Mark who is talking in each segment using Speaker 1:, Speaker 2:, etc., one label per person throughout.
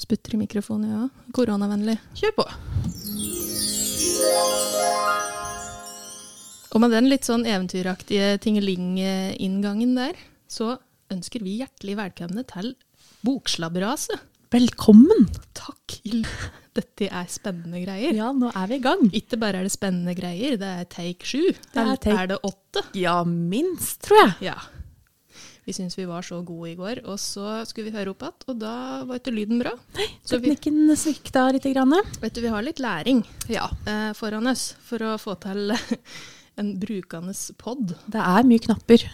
Speaker 1: sputter i mikrofonen, jeg òg. Koronavennlig.
Speaker 2: Kjør på.
Speaker 1: Og med den litt sånn eventyraktige tingeling-inngangen der, så ønsker vi hjertelig velkomne til Bokslabberaset.
Speaker 2: Velkommen!
Speaker 1: Takk, Ild. Dette er spennende greier.
Speaker 2: Ja, nå er vi i gang.
Speaker 1: Ikke bare er det spennende greier, det er take sju.
Speaker 2: er
Speaker 1: Eller
Speaker 2: take-
Speaker 1: er det åtte?
Speaker 2: Ja, minst, tror jeg.
Speaker 1: Ja. Vi syns vi var så gode i går, og så skulle vi høre opp igjen, og da var ikke lyden bra. Nei, så vi,
Speaker 2: Teknikken svikta litt. Grann.
Speaker 1: vet du, vi har litt læring
Speaker 2: Ja.
Speaker 1: eh, foran oss for å få til en brukende pod.
Speaker 2: Det er mye knapper.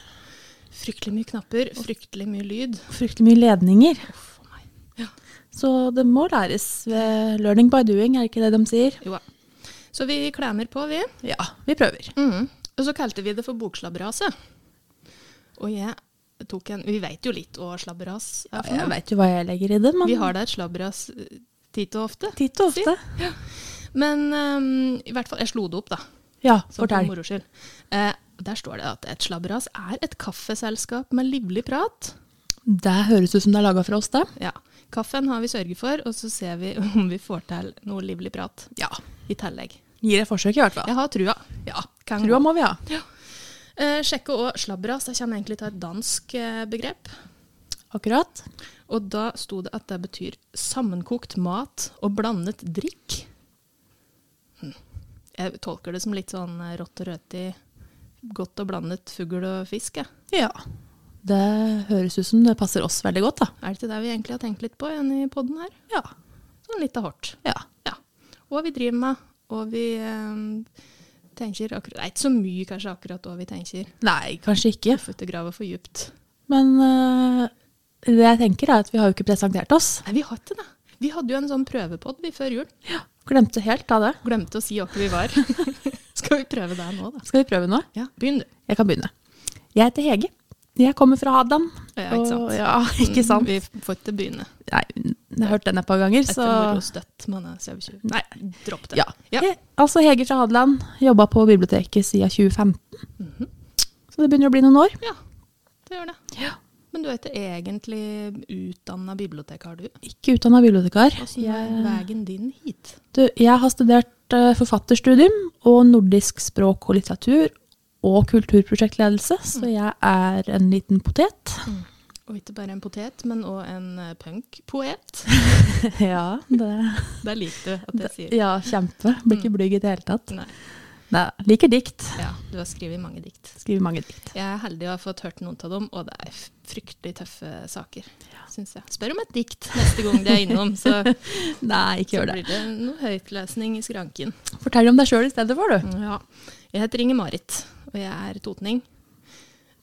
Speaker 1: Fryktelig mye knapper, fryktelig mye lyd.
Speaker 2: Fryktelig mye ledninger.
Speaker 1: Uff a meg.
Speaker 2: Så det må læres. eh, Learning by doing, er det ikke det de sier?
Speaker 1: Jo da. Så vi klemmer på, vi.
Speaker 2: Ja, vi prøver.
Speaker 1: Mhm. Og så kalte vi det for bokslabberase. Og jeg tok en Vi veit jo litt hva slabberas er for
Speaker 2: Jeg
Speaker 1: noe.
Speaker 2: veit jo hva jeg legger i det, men
Speaker 1: Vi har da et slabberas eh, titt og ofte.
Speaker 2: titt og ofte.
Speaker 1: Men ehm, i hvert fall, jeg slo det opp, da.
Speaker 2: Ja,
Speaker 1: Sånn for
Speaker 2: fortell.
Speaker 1: moro skyld. Eh, der står det at et slabberas er et kaffeselskap med livlig prat.
Speaker 2: Det høres ut som det er laga for oss, det.
Speaker 1: Ja. Kaffen har vi sørget for, og så ser vi om vi får til noe livlig prat
Speaker 2: Ja.
Speaker 1: i tillegg.
Speaker 2: Gir et forsøk, i hvert fall.
Speaker 1: Jeg har trua. Ja, kan
Speaker 2: Trua
Speaker 1: gå.
Speaker 2: må vi ha.
Speaker 1: Eh, sjekke òg slabberas. Det kommer egentlig til et dansk eh, begrep.
Speaker 2: Akkurat.
Speaker 1: Og da sto det at det betyr sammenkokt mat og blandet drikk. Hm. Jeg tolker det som litt sånn eh, rått og røti, godt og blandet fugl og fisk. jeg.
Speaker 2: Ja. Det høres ut som det passer oss veldig godt, da.
Speaker 1: Er det ikke det vi egentlig har tenkt litt på igjen i podden her?
Speaker 2: Ja.
Speaker 1: Sånn litt av hardt.
Speaker 2: Ja.
Speaker 1: Ja. Hva vi driver med, og vi eh, tenker akkurat Det er ikke så mye kanskje akkurat hva vi tenker.
Speaker 2: Nei, kanskje ikke.
Speaker 1: Uff, ute grave for djupt.
Speaker 2: Men øh, det jeg tenker er at vi har jo ikke presentert oss.
Speaker 1: Nei, vi har ikke det. Vi hadde jo en sånn prøvepodd vi før jul.
Speaker 2: Glemte helt av det.
Speaker 1: Glemte å si hvem vi var. Skal vi prøve det nå, da?
Speaker 2: Skal vi prøve nå?
Speaker 1: Ja, begynn du.
Speaker 2: Jeg kan begynne. Jeg heter Hege. Jeg kommer fra Hadan.
Speaker 1: Ja, ikke sant? Mm.
Speaker 2: Og, ja, ikke sant?
Speaker 1: Vi får ikke begynne.
Speaker 2: Nei, jeg har hørt den et par ganger,
Speaker 1: Etter
Speaker 2: så
Speaker 1: moro støtt, men eh, jeg ser ikke
Speaker 2: Nei.
Speaker 1: Dropp det.
Speaker 2: Ja.
Speaker 1: Ja.
Speaker 2: He, altså Hege fra Hadeland. Jobba på biblioteket siden 2015. Så det begynner å bli noen år.
Speaker 1: Mhm. Ja, det gjør det.
Speaker 2: Ja.
Speaker 1: Men du er ikke egentlig utdanna bibliotekar, du?
Speaker 2: Ikke utdanna bibliotekar.
Speaker 1: Åssen er veien din hit?
Speaker 2: Du, jeg har studert eh, forfatterstudium og nordisk språk og litteratur og kulturprosjektledelse, så
Speaker 1: Mm.
Speaker 2: jeg er en liten potet.
Speaker 1: Og ikke bare en potet, men òg en eh, punkpoet.
Speaker 2: ja, det,
Speaker 1: Det er lite at jeg sier. Mm.
Speaker 2: ja, kjempe. Blir ikke blyg i det hele tatt.
Speaker 1: Nei.
Speaker 2: Nei, liker dikt.
Speaker 1: Ja, du har skrevet mange dikt.
Speaker 2: Skriver mange dikt.
Speaker 1: Jeg er heldig og har fått hørt noen av dem, og det er f- fryktelig tøffe saker, syns jeg. Spør om et dikt neste gang de er innom, så,
Speaker 2: Nei, ikke
Speaker 1: så
Speaker 2: gjør det.
Speaker 1: blir det noe høytlesning i skranken.
Speaker 2: Fortell om deg sjøl i stedet for, du.
Speaker 1: Ja. Jeg heter Inge-Marit, og jeg er totning.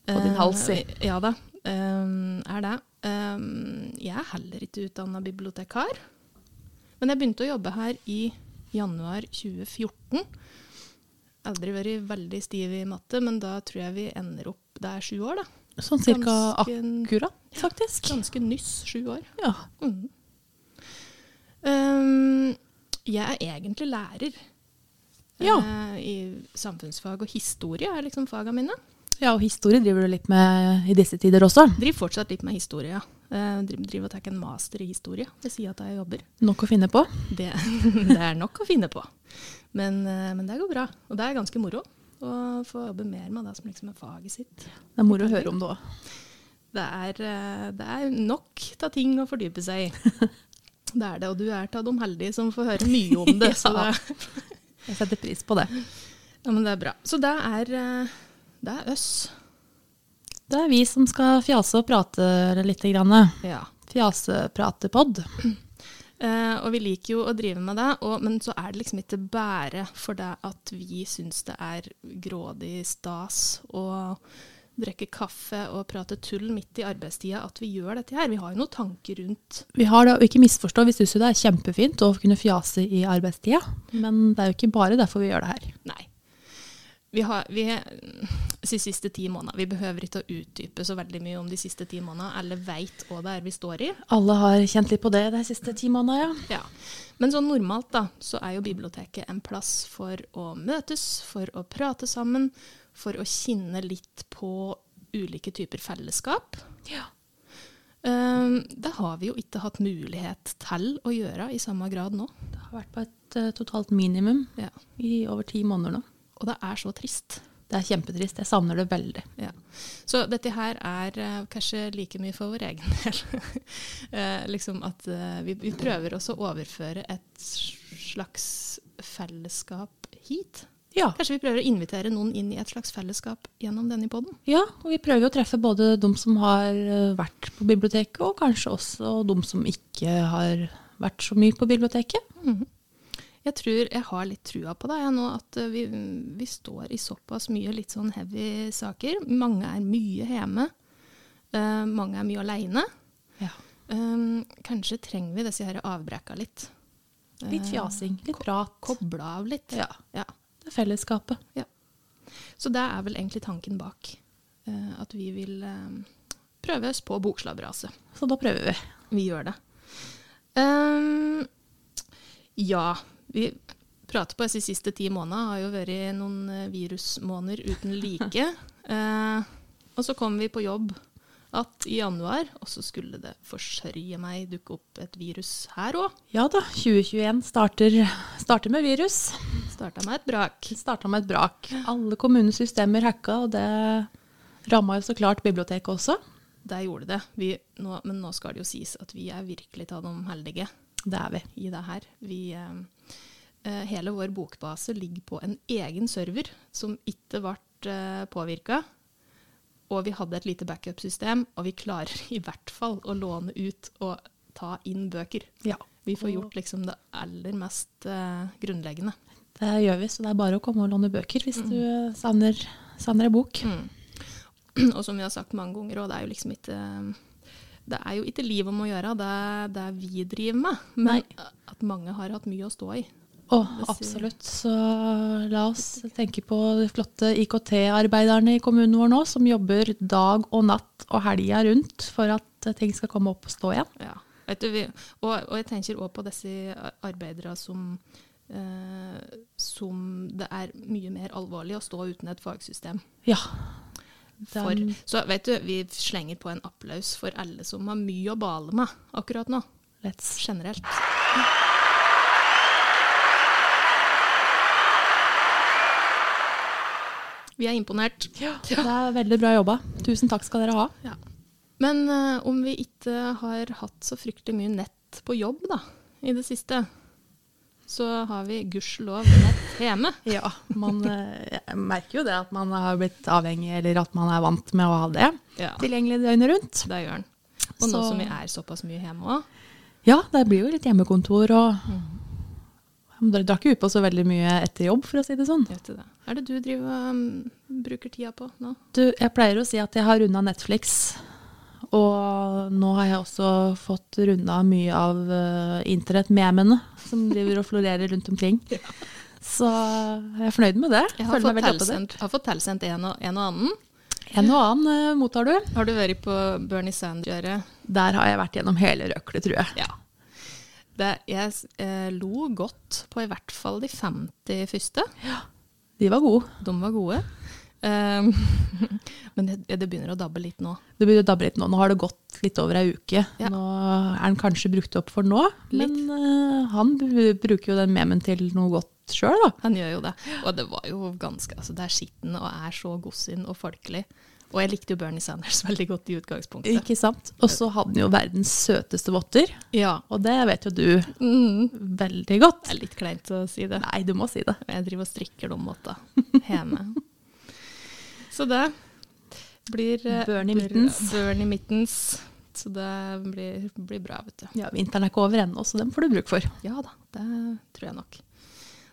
Speaker 2: På din
Speaker 1: Eh,
Speaker 2: hals, si.
Speaker 1: ja da, eh, er det. Eh, jeg er heller ikke utdanna bibliotekar, men jeg begynte å jobbe her i januar 2014. Aldri vært veldig stiv i matte, men da tror jeg vi ender opp Det er sju år, da.
Speaker 2: Sånn cirka
Speaker 1: Ganske-
Speaker 2: akkurat, Mm. faktisk.
Speaker 1: Ganske nyss sju år.
Speaker 2: Ja.
Speaker 1: Mhm. Ehm, jeg er egentlig lærer
Speaker 2: Ja.
Speaker 1: eh, i samfunnsfag, og historie er liksom faga mine.
Speaker 2: ja, og historie driver du litt med i disse tider også.
Speaker 1: Driver fortsatt litt med historie, ja. Eh, driv- driver og tar en master i historie ved sida av at jeg jobber.
Speaker 2: Nok å finne på.
Speaker 1: Det, det er nok å finne på. Men, eh, men det går bra, og det er ganske moro å få jobbe mer med det som liksom er faget sitt.
Speaker 2: Det er moro å høre om det òg.
Speaker 1: Det er, eh, det er nok av ting å fordype seg i. Det er det, og du er av de heldige som får høre mye om det. så
Speaker 2: Ja.
Speaker 1: det
Speaker 2: Jeg setter pris på det.
Speaker 1: Ja, men det er bra. Så det er, eh, det er oss.
Speaker 2: Det er vi som skal fjase og prate litt. Grann.
Speaker 1: Ja.
Speaker 2: Fjasepratepod.
Speaker 1: Eh, og vi liker jo å drive med det, og, men så er det liksom ikke bare for det at vi syns det er grådig stas å drikke kaffe og prate tull midt i arbeidstida at vi gjør dette her. Vi har jo noen tanker rundt
Speaker 2: Vi har det, og ikke misforstå, vi syns jo det er kjempefint å kunne fjase i arbeidstida, men det er jo ikke bare derfor vi gjør det her.
Speaker 1: Nei. Vi har vi, de siste ti månedene. Vi behøver ikke å utdype så veldig mye om de siste ti månedene. Alle veit hva det er vi står i.
Speaker 2: Alle har kjent litt på det de siste ti månedene, ja.
Speaker 1: Ja. Men sånn normalt da, så er jo biblioteket en plass for å møtes, for å prate sammen, for å kjenne litt på ulike typer fellesskap.
Speaker 2: Ja.
Speaker 1: Eh, Ehm, det har vi jo ikke hatt mulighet til å gjøre i samme grad nå.
Speaker 2: Det har vært på et eh, totalt minimum
Speaker 1: Ja.
Speaker 2: i over ti måneder nå.
Speaker 1: Og det er så trist.
Speaker 2: Det er kjempetrist. Jeg savner det veldig.
Speaker 1: Ja. Så dette her er eh, kanskje like mye for vår egen del. Eh, liksom at eh, vi, vi prøver også å overføre et slags fellesskap hit.
Speaker 2: Ja.
Speaker 1: Kanskje vi prøver å invitere noen inn i et slags fellesskap gjennom denne poden.
Speaker 2: ja, og vi prøver jo å treffe både de som har eh, vært på biblioteket, og kanskje også de som ikke har vært så mye på biblioteket.
Speaker 1: Mhm. Jeg tror jeg har litt trua på det jeg nå, at eh, vi, vi står i såpass mye litt sånn heavy saker. Mange er mye hjemme. eh, mange er mye aleine.
Speaker 2: Ja.
Speaker 1: kanskje trenger vi disse her avbrekka litt.
Speaker 2: Litt fjasing, Eh, litt prat.
Speaker 1: Koble av litt.
Speaker 2: Ja,
Speaker 1: Ja.
Speaker 2: det er fellesskapet.
Speaker 1: Så det er vel egentlig tanken bak. eh, at vi vil eh, prøve oss på bokslabraset.
Speaker 2: Så da prøver vi.
Speaker 1: Vi gjør det. Ehm, ja, vi prater på oss de siste ti månedene. Har jo vært noen eh, virusmåneder uten like. Eh, og så kom vi på jobb at i januar, og så skulle det forsørge meg dukke opp et virus her òg.
Speaker 2: Ja da, 2021 starter, starter med virus.
Speaker 1: Starta med et brak.
Speaker 2: Det starta med et brak. Alle kommunens systemer hacka, og det ramma jo så klart biblioteket også.
Speaker 1: Der gjorde det. Vi, nå, men nå skal det jo sies at vi er virkelig av de heldige.
Speaker 2: Det er vi.
Speaker 1: i det her. Vi, eh, eh, hele vår bokbase ligger på en egen server som ikke ble eh, påvirka. Og vi hadde et lite backup-system, og vi klarer i hvert fall å låne ut og ta inn bøker.
Speaker 2: Ja.
Speaker 1: Vi får gjort liksom det aller mest eh, grunnleggende.
Speaker 2: Det gjør vi, så det er bare å komme og låne bøker hvis du eh, savner, savner ei bok.
Speaker 1: Og som vi har sagt mange ganger òg, det er jo liksom ikke det er jo ikke livet om å gjøre, det er det vi driver med. Men
Speaker 2: Nei.
Speaker 1: at mange har hatt mye å stå i.
Speaker 2: Å,
Speaker 1: Det sier-
Speaker 2: absolutt. Så la oss tenke på de flotte IKT-arbeiderne i kommunen vår nå, som jobber dag og natt og helga rundt for at eh, ting skal komme opp og stå igjen.
Speaker 1: Ja. Vet du, vi, og, og jeg tenker òg på disse ar- arbeidere som eh, som det er mye mer alvorlig å stå uten et fagsystem
Speaker 2: Ja.
Speaker 1: for.
Speaker 2: Den-
Speaker 1: Så vet du, vi slenger på en applaus for alle som har mye å bale med akkurat nå.
Speaker 2: Let's
Speaker 1: Generelt. Vi er imponert.
Speaker 2: Det er veldig bra jobba. Tusen takk skal dere ha.
Speaker 1: Ja. Men eh, om vi ikke har hatt så fryktelig mye nett på jobb da, i det siste, så har vi gudskjelov nett hjemme.
Speaker 2: Ja, man eh, jeg merker jo det at man har blitt avhengig, eller at man er vant med å ha det
Speaker 1: Ja.
Speaker 2: tilgjengelig døgnet rundt.
Speaker 1: Det gjør den. Og nå
Speaker 2: Så-
Speaker 1: som vi er såpass mye hjemme òg.
Speaker 2: Ja, det blir jo litt hjemmekontor og Man drar ikke ut på så veldig mye etter jobb, for å si det sånn.
Speaker 1: Er det du driver og mm, bruker tida på nå?
Speaker 2: Du, jeg pleier å si at jeg har runda Netflix, og nå har jeg også fått runda mye av uh, internettmemene som driver og florerer rundt omkring. Så jeg er fornøyd med det.
Speaker 1: Jeg har
Speaker 2: Føler meg
Speaker 1: fått
Speaker 2: veldig oppdatert.
Speaker 1: tilsendt, har fått tilsendt en, og, en og annen.
Speaker 2: En og annen eh, mottar du.
Speaker 1: Har du vært på Bernie Sanders-gjøret?
Speaker 2: Der har jeg vært gjennom hele røklet, tror jeg.
Speaker 1: Ja. Det, jeg eh, lo godt på i hvert fall de 50 første.
Speaker 2: De var gode.
Speaker 1: De var gode. Ehm, men det, det begynner å dabbe litt nå.
Speaker 2: Det begynner å dabbe litt nå. Nå har det gått litt over ei uke.
Speaker 1: Ja.
Speaker 2: Nå er den kanskje brukt opp for nå, men eh, han b- bruker jo den memen til noe godt sjøl, da.
Speaker 1: Han gjør jo det. Og det var jo ganske altså Det er skitten og er så godsinn og folkelig. Og jeg likte jo Bernie Sanders veldig godt i utgangspunktet.
Speaker 2: Ikke sant? Og så hadde han jo verdens søteste votter,
Speaker 1: Ja.
Speaker 2: og det vet jo du
Speaker 1: Mm.
Speaker 2: veldig godt.
Speaker 1: Det er litt kleint å si det.
Speaker 2: Nei, du må si det.
Speaker 1: Jeg driver og strikker dem åt da, hjemme. Så det blir eh,
Speaker 2: Bernie Mittens.
Speaker 1: Bernie Mittens. Så det blir, blir bra, vet du.
Speaker 2: Ja, Vinteren er ikke over ennå, så den får du bruk for.
Speaker 1: Ja da, det tror jeg nok.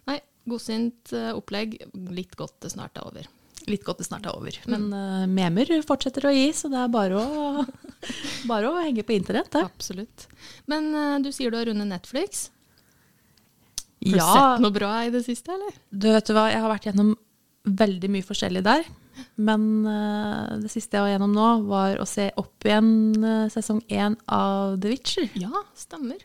Speaker 1: Nei, godsint eh, opplegg. Litt godt det snart er over.
Speaker 2: Litt godt det snart er over. Men
Speaker 1: Mm.
Speaker 2: eh, memer fortsetter å gi, så det er bare å, bare å henge på internett. Det.
Speaker 1: Absolutt. Men eh, du sier du har rundet Netflix. Har du
Speaker 2: Ja,
Speaker 1: sett noe bra i det siste, eller?
Speaker 2: Du vet du hva, jeg har vært gjennom veldig mye forskjellig der. Men eh, det siste jeg var gjennom nå, var å se opp igjen eh, sesong én av The Witcher.
Speaker 1: Ja, stemmer.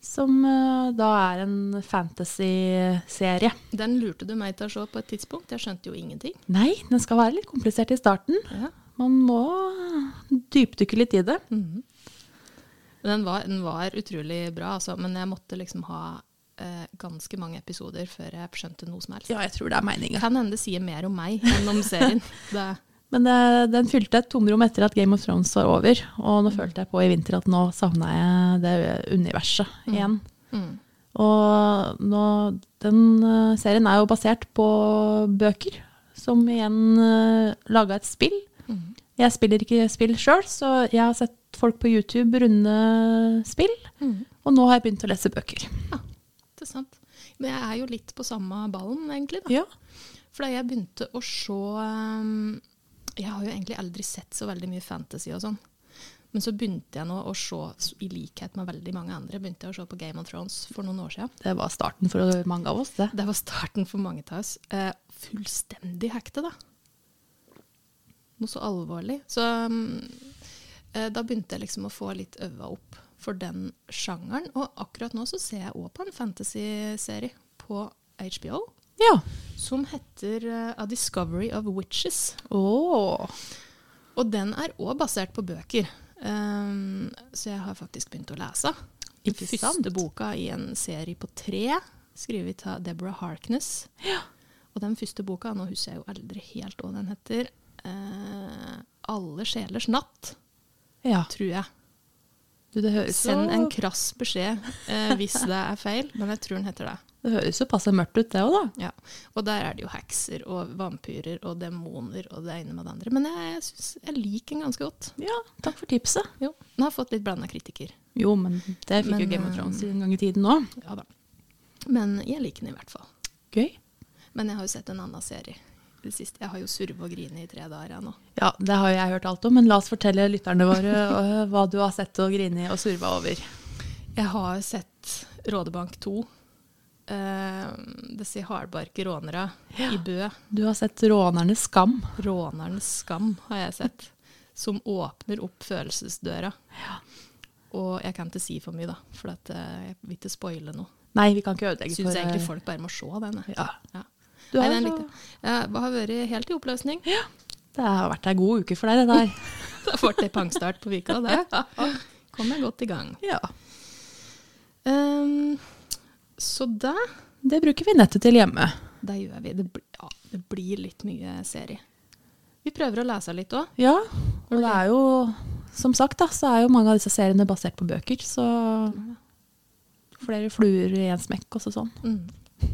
Speaker 2: Som eh, da er en fantasy-serie.
Speaker 1: Den lurte du meg til å se på et tidspunkt. Jeg skjønte jo ingenting.
Speaker 2: Nei, den skal være litt komplisert i starten.
Speaker 1: Ja.
Speaker 2: Man må dypdykke litt i det.
Speaker 1: Mhm. Den var, den var utrolig bra, altså. Men jeg måtte liksom ha eh, ganske mange episoder før jeg skjønte noe som helst.
Speaker 2: Ja, jeg tror det er meninga.
Speaker 1: Kan hende det sier mer om meg enn om serien. Det,
Speaker 2: Men eh, den fylte et tomrom etter at Game of Thrones var over. Og nå følte jeg på i vinter at nå savna jeg det universet igjen.
Speaker 1: mm.
Speaker 2: Og nå, den eh, serien er jo basert på bøker, som igjen laga et spill.
Speaker 1: Mm.
Speaker 2: Jeg spiller ikke spill sjøl, så jeg har sett folk på YouTube runde spill.
Speaker 1: Mm.
Speaker 2: Og nå har jeg begynt å lese bøker.
Speaker 1: Interessant. Men jeg er jo litt på samme ballen, egentlig. da.
Speaker 2: Ja.
Speaker 1: For da jeg begynte å se um, Jeg har jo egentlig aldri sett så veldig mye fantasy og sånn. Men så begynte jeg nå å se, s- i likhet med veldig mange andre, begynte jeg å se på Game of Thrones for noen år siden.
Speaker 2: Det var starten for mange av oss, det.
Speaker 1: Det var starten for mange av oss. Eh, fullstendig hekte, da. Noe så alvorlig. Så um, eh, da begynte jeg liksom å få litt øva opp for den sjangeren. Og akkurat nå så ser jeg òg på en fantasyserie på HBO
Speaker 2: Ja.
Speaker 1: som heter eh, A Discovery of Witches.
Speaker 2: Åh.
Speaker 1: Og den er òg basert på bøker. Ehm, så jeg har faktisk begynt å lese. Den
Speaker 2: Ikke sant?
Speaker 1: første boka i en serie på tre, skrevet av Deborah Harkness. Og den første boka, nå husker jeg jo aldri helt hva den heter, eh, 'Alle sjelers natt',
Speaker 2: Ja.
Speaker 1: tror jeg.
Speaker 2: Du, det høres jo
Speaker 1: Send en krass beskjed eh, hvis det er feil, men jeg tror den heter det.
Speaker 2: Det høres jo passe mørkt ut, det òg, da.
Speaker 1: Ja. Og der er det jo hekser og vampyrer og demoner og det ene med det andre. Men jeg, synes, jeg liker den ganske godt.
Speaker 2: Ja, takk for tipset.
Speaker 1: Jo, Den har fått litt blanda kritikker.
Speaker 2: Jo, men det fikk
Speaker 1: Men,
Speaker 2: jo Game of
Speaker 1: eh,
Speaker 2: Thrones en gang i tiden òg.
Speaker 1: Ja da. Men jeg liker den i hvert fall.
Speaker 2: Gøy.
Speaker 1: Men jeg har jo sett en annen serie i det siste. Jeg har jo surve og grine i tre dager jeg nå.
Speaker 2: Ja, det har jeg hørt alt om, men la oss fortelle lytterne våre eh, hva du har sett og grini og surva over.
Speaker 1: Jeg har sett Rådebank 2. Eh, Disse hardbarke rånere i Bø.
Speaker 2: Du har sett 'Rånernes skam'.
Speaker 1: Rånerens skam har jeg sett. Som åpner opp følelsesdøra. Og jeg kan ikke si for mye, da, for at eh, jeg vil ikke spoile noe.
Speaker 2: Nei, vi kan ikke ødelegge
Speaker 1: Jeg syns
Speaker 2: for eh,
Speaker 1: egentlig folk bare må se den. jeg.
Speaker 2: Ja.
Speaker 1: eh, Ja.
Speaker 2: Du
Speaker 1: Nei,
Speaker 2: har,
Speaker 1: den
Speaker 2: jo-
Speaker 1: likte jeg. Jeg har vært helt i oppløsning.
Speaker 2: Det har vært ei god uke for deg, det der.
Speaker 1: Da ble det pangstart på Vika. Der kom jeg godt i gang.
Speaker 2: ja.
Speaker 1: Ehm, så det,
Speaker 2: Det bruker vi nettet til hjemme.
Speaker 1: det gjør vi. Det, bli, ja, det blir litt mye serie. Vi prøver å lese litt òg.
Speaker 2: Ja, og det er jo, som sagt, da, så er jo mange av disse seriene basert på bøker, så flere fluer i en smekk og så sånn.
Speaker 1: Mm.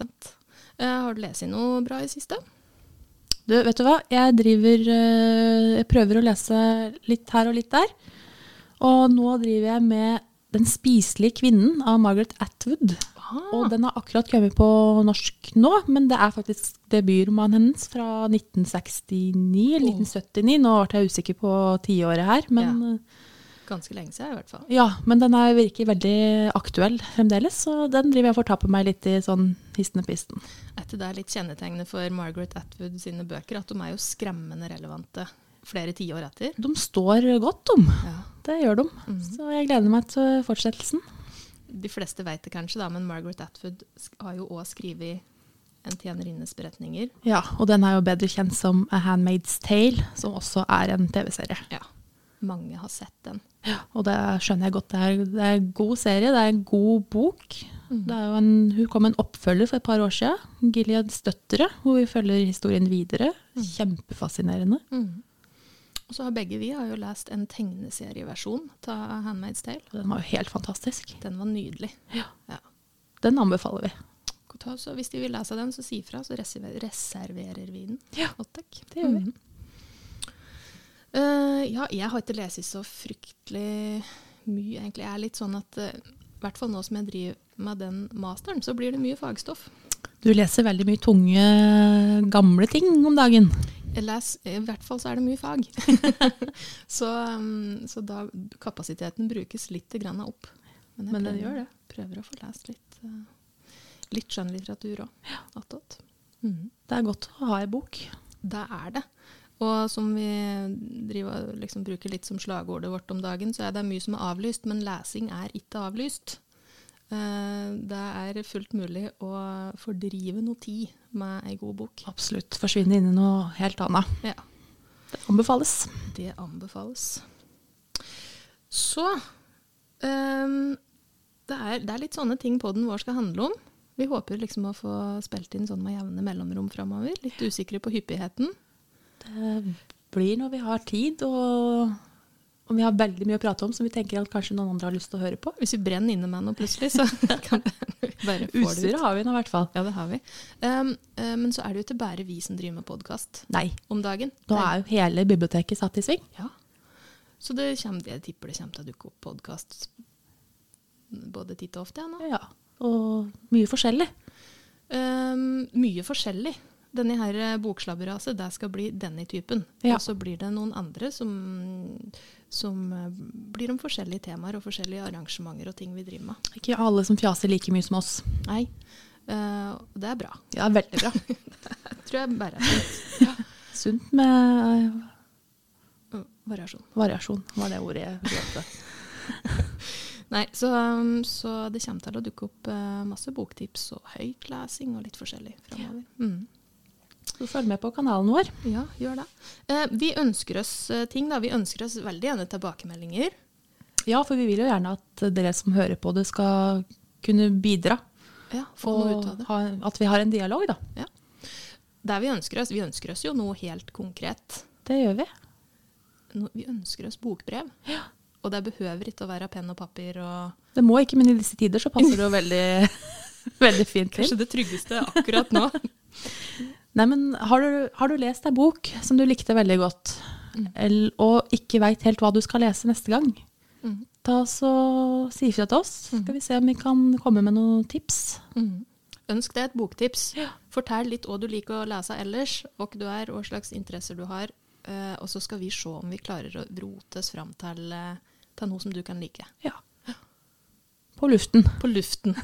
Speaker 1: Vent. Eh, har du lest noe bra i siste?
Speaker 2: Du, vet du hva? Jeg driver eh, Jeg prøver å lese litt her og litt der. Og nå driver jeg med 'Den spiselige kvinnen' av Margaret Atwood.
Speaker 1: Ah.
Speaker 2: Og den har akkurat kommet på norsk nå, men det er faktisk debutromanen hennes fra 1969 eller
Speaker 1: Åh.
Speaker 2: 1979. Nå ble jeg usikker på tiåret her, men
Speaker 1: Ja.
Speaker 2: eh,
Speaker 1: Ganske lenge siden, i hvert fall.
Speaker 2: Ja, men den er, virker veldig aktuell fremdeles, så den driver jeg og fortapper meg litt i sånn histen og pisten.
Speaker 1: Etter det er litt kjennetegnet for Margaret Atwood sine bøker at de er jo skremmende relevante flere tiår etter.
Speaker 2: De står godt, de.
Speaker 1: Ja.
Speaker 2: Det gjør de. Så jeg gleder meg til fortsettelsen.
Speaker 1: De fleste vet det kanskje, da, men Margaret Atwood sk- har jo òg skrevet en tjenerinnes beretninger.
Speaker 2: Ja, og den er jo bedre kjent som A Handmaid's Tale, som også er en TV-serie.
Speaker 1: Ja. Mange har sett den.
Speaker 2: Og det skjønner jeg godt. Det er, det er en god serie, det er en god bok. Det er jo en, hun kom med en oppfølger for et par år siden, Gileads døtre, hvor vi følger historien videre. Kjempefascinerende.
Speaker 1: Og så har begge vi har jo lest en tegneserieversjon av 'Handmaid's Tale'.
Speaker 2: Den var jo helt fantastisk.
Speaker 1: Den var nydelig.
Speaker 2: Ja.
Speaker 1: Ja.
Speaker 2: Den anbefaler vi.
Speaker 1: Gå ta- Så hvis de vil lese den, så si fra, så reserver- reserverer vi den.
Speaker 2: Ja.
Speaker 1: Godt, takk.
Speaker 2: Det gjør vi.
Speaker 1: Eh, ja, jeg har ikke lest så fryktelig mye, egentlig. Jeg er litt sånn at eh, i hvert fall nå som jeg driver med den masteren, så blir det mye fagstoff.
Speaker 2: Du leser veldig mye tunge, gamle ting om dagen.
Speaker 1: Jeg les, I hvert fall så er det mye fag. så, um, så da kapasiteten brukes litt grann opp. jeg
Speaker 2: Men den
Speaker 1: prøver-
Speaker 2: gjør det.
Speaker 1: Prøver å få lest litt, eh, litt skjønnlitteratur òg. Attåt. Mhm.
Speaker 2: Det er godt å ha ei bok.
Speaker 1: Det er det. Og som vi driver, liksom, bruker litt som slagordet vårt om dagen, så er det mye som er avlyst, men lesing er ikke avlyst. Eh, Det er fullt mulig å fordrive noe tid med ei god bok.
Speaker 2: Absolutt. Forsvinne inn i noe helt annet.
Speaker 1: Ja.
Speaker 2: Det anbefales.
Speaker 1: Det anbefales. Så ehm, det, er, det er litt sånne ting podden vår skal handle om. Vi håper liksom å få spilt inn sånn med jevne mellomrom framover. Litt usikre på hyppigheten.
Speaker 2: Det blir når vi har tid, og om vi har veldig mye å prate om som vi tenker at kanskje noen andre har lyst til å høre på.
Speaker 1: Hvis vi brenner inne med noe plutselig, så kan det hende vi bare få det ut.
Speaker 2: Utstyret har vi nå i hvert fall.
Speaker 1: Ja, det har vi. Ehm, eh, men så er det jo ikke bare vi som driver med podkast
Speaker 2: Nei,
Speaker 1: om dagen.
Speaker 2: nå er jo hele biblioteket satt i sving.
Speaker 1: Ja. Så det kommer, jeg tipper det kommer til å dukke opp podkast både titt og ofte. Ja, nå.
Speaker 2: Ja, og mye forskjellig.
Speaker 1: Ehm, mye forskjellig. Denne her eh, bokslabberaset, det skal bli denne typen.
Speaker 2: Ja.
Speaker 1: Og så blir det noen andre som, som eh, blir om forskjellige temaer og forskjellige arrangementer og ting vi driver med.
Speaker 2: Ikke alle som fjaser like mye som oss.
Speaker 1: Nei, eh, det er bra.
Speaker 2: Ja, veldig bra.
Speaker 1: Jeg tror jeg bare er fint.
Speaker 2: Sunt med eh,
Speaker 1: Mm, Variasjon.
Speaker 2: variasjon, var det ordet jeg hørte.
Speaker 1: Nei, så, um, så det kommer til å dukke opp eh, masse boktips og høytlesing og litt forskjellig framover. Mm.
Speaker 2: Så følg med på kanalen vår.
Speaker 1: Ja, gjør det. Eh, vi ønsker oss eh, ting, da. Vi ønsker oss veldig gjerne tilbakemeldinger.
Speaker 2: Ja, for vi vil jo gjerne at dere som hører på det skal kunne bidra.
Speaker 1: Ja, få noe
Speaker 2: og
Speaker 1: ut av det.
Speaker 2: ha, at vi har en dialog, da.
Speaker 1: Der vi ønsker oss, vi ønsker oss jo noe helt konkret.
Speaker 2: Det gjør vi.
Speaker 1: No, vi ønsker oss bokbrev. Og det behøver ikke å være penn og papir og
Speaker 2: Det må ikke, men i disse tider så passer det jo veldig, veldig fint til.
Speaker 1: det tryggeste akkurat nå.
Speaker 2: Nei, men har du, har du lest ei bok som du likte veldig godt, el- og ikke veit helt hva du skal lese neste gang,
Speaker 1: Mm.
Speaker 2: da så si ifra til oss. Skal vi se om vi kan komme med noen tips.
Speaker 1: Mm. Ønsk deg et boktips. Fortell litt hva du liker å lese ellers, hvor du er, hva slags interesser du har. eh, og så skal vi se om vi klarer å rote oss fram til, eh, til noe som du kan like.
Speaker 2: Ja. På luften.
Speaker 1: På luften.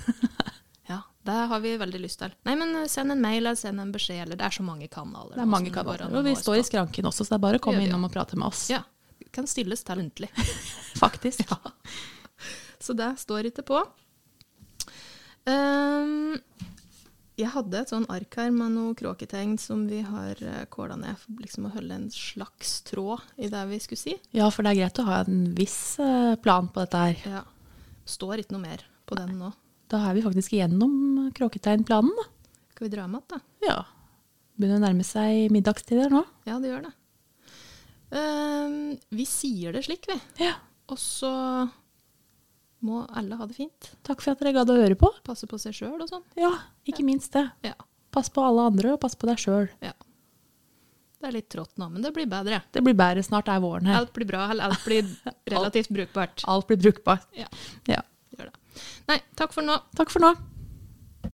Speaker 1: ja, det har vi veldig lyst til. Nei, men eh, send en mail eller send en beskjed. Eller det er så mange kanaler.
Speaker 2: Det
Speaker 1: nå
Speaker 2: er mange
Speaker 1: som går
Speaker 2: kanaler.
Speaker 1: an å
Speaker 2: Og vi
Speaker 1: nå oss
Speaker 2: står i
Speaker 1: på.
Speaker 2: skranken også, så det er bare å
Speaker 1: Det
Speaker 2: komme
Speaker 1: gjør vi,
Speaker 2: innom og prate med oss.
Speaker 1: Ja. Kan stilles til muntlig.
Speaker 2: Faktisk.
Speaker 1: Så det står ikke på. Ehm, jeg hadde et sånn ark her med noen kråketegn som vi har eh, kåla ned for liksom å holde en slags tråd i det vi skulle si.
Speaker 2: Ja, for det er greit å ha en viss eh, plan på dette her.
Speaker 1: Ja. Står ikke noe mer på den nå.
Speaker 2: Da er vi faktisk igjennom kråketegnplanen, da.
Speaker 1: Skal vi dra med igjen, da?
Speaker 2: Ja. Begynner å nærme seg middagstider nå.
Speaker 1: Ja, det gjør det. Ehm, vi sier det slik, vi.
Speaker 2: Ja.
Speaker 1: Og så må alle ha det fint.
Speaker 2: Takk for at dere gadd å høre på.
Speaker 1: Passe på seg sjøl og sånn.
Speaker 2: Ja, ikke minst det.
Speaker 1: Ja.
Speaker 2: Pass på alle andre, og pass på deg sjøl.
Speaker 1: ja. Det er litt trått nå, men det blir bedre.
Speaker 2: Det blir bedre snart er våren her.
Speaker 1: Alt blir bra, eller alt blir relativt brukbart.
Speaker 2: Alt blir brukbart.
Speaker 1: Ja,
Speaker 2: Ja.
Speaker 1: gjør det. Nei, takk for nå.
Speaker 2: Takk for nå.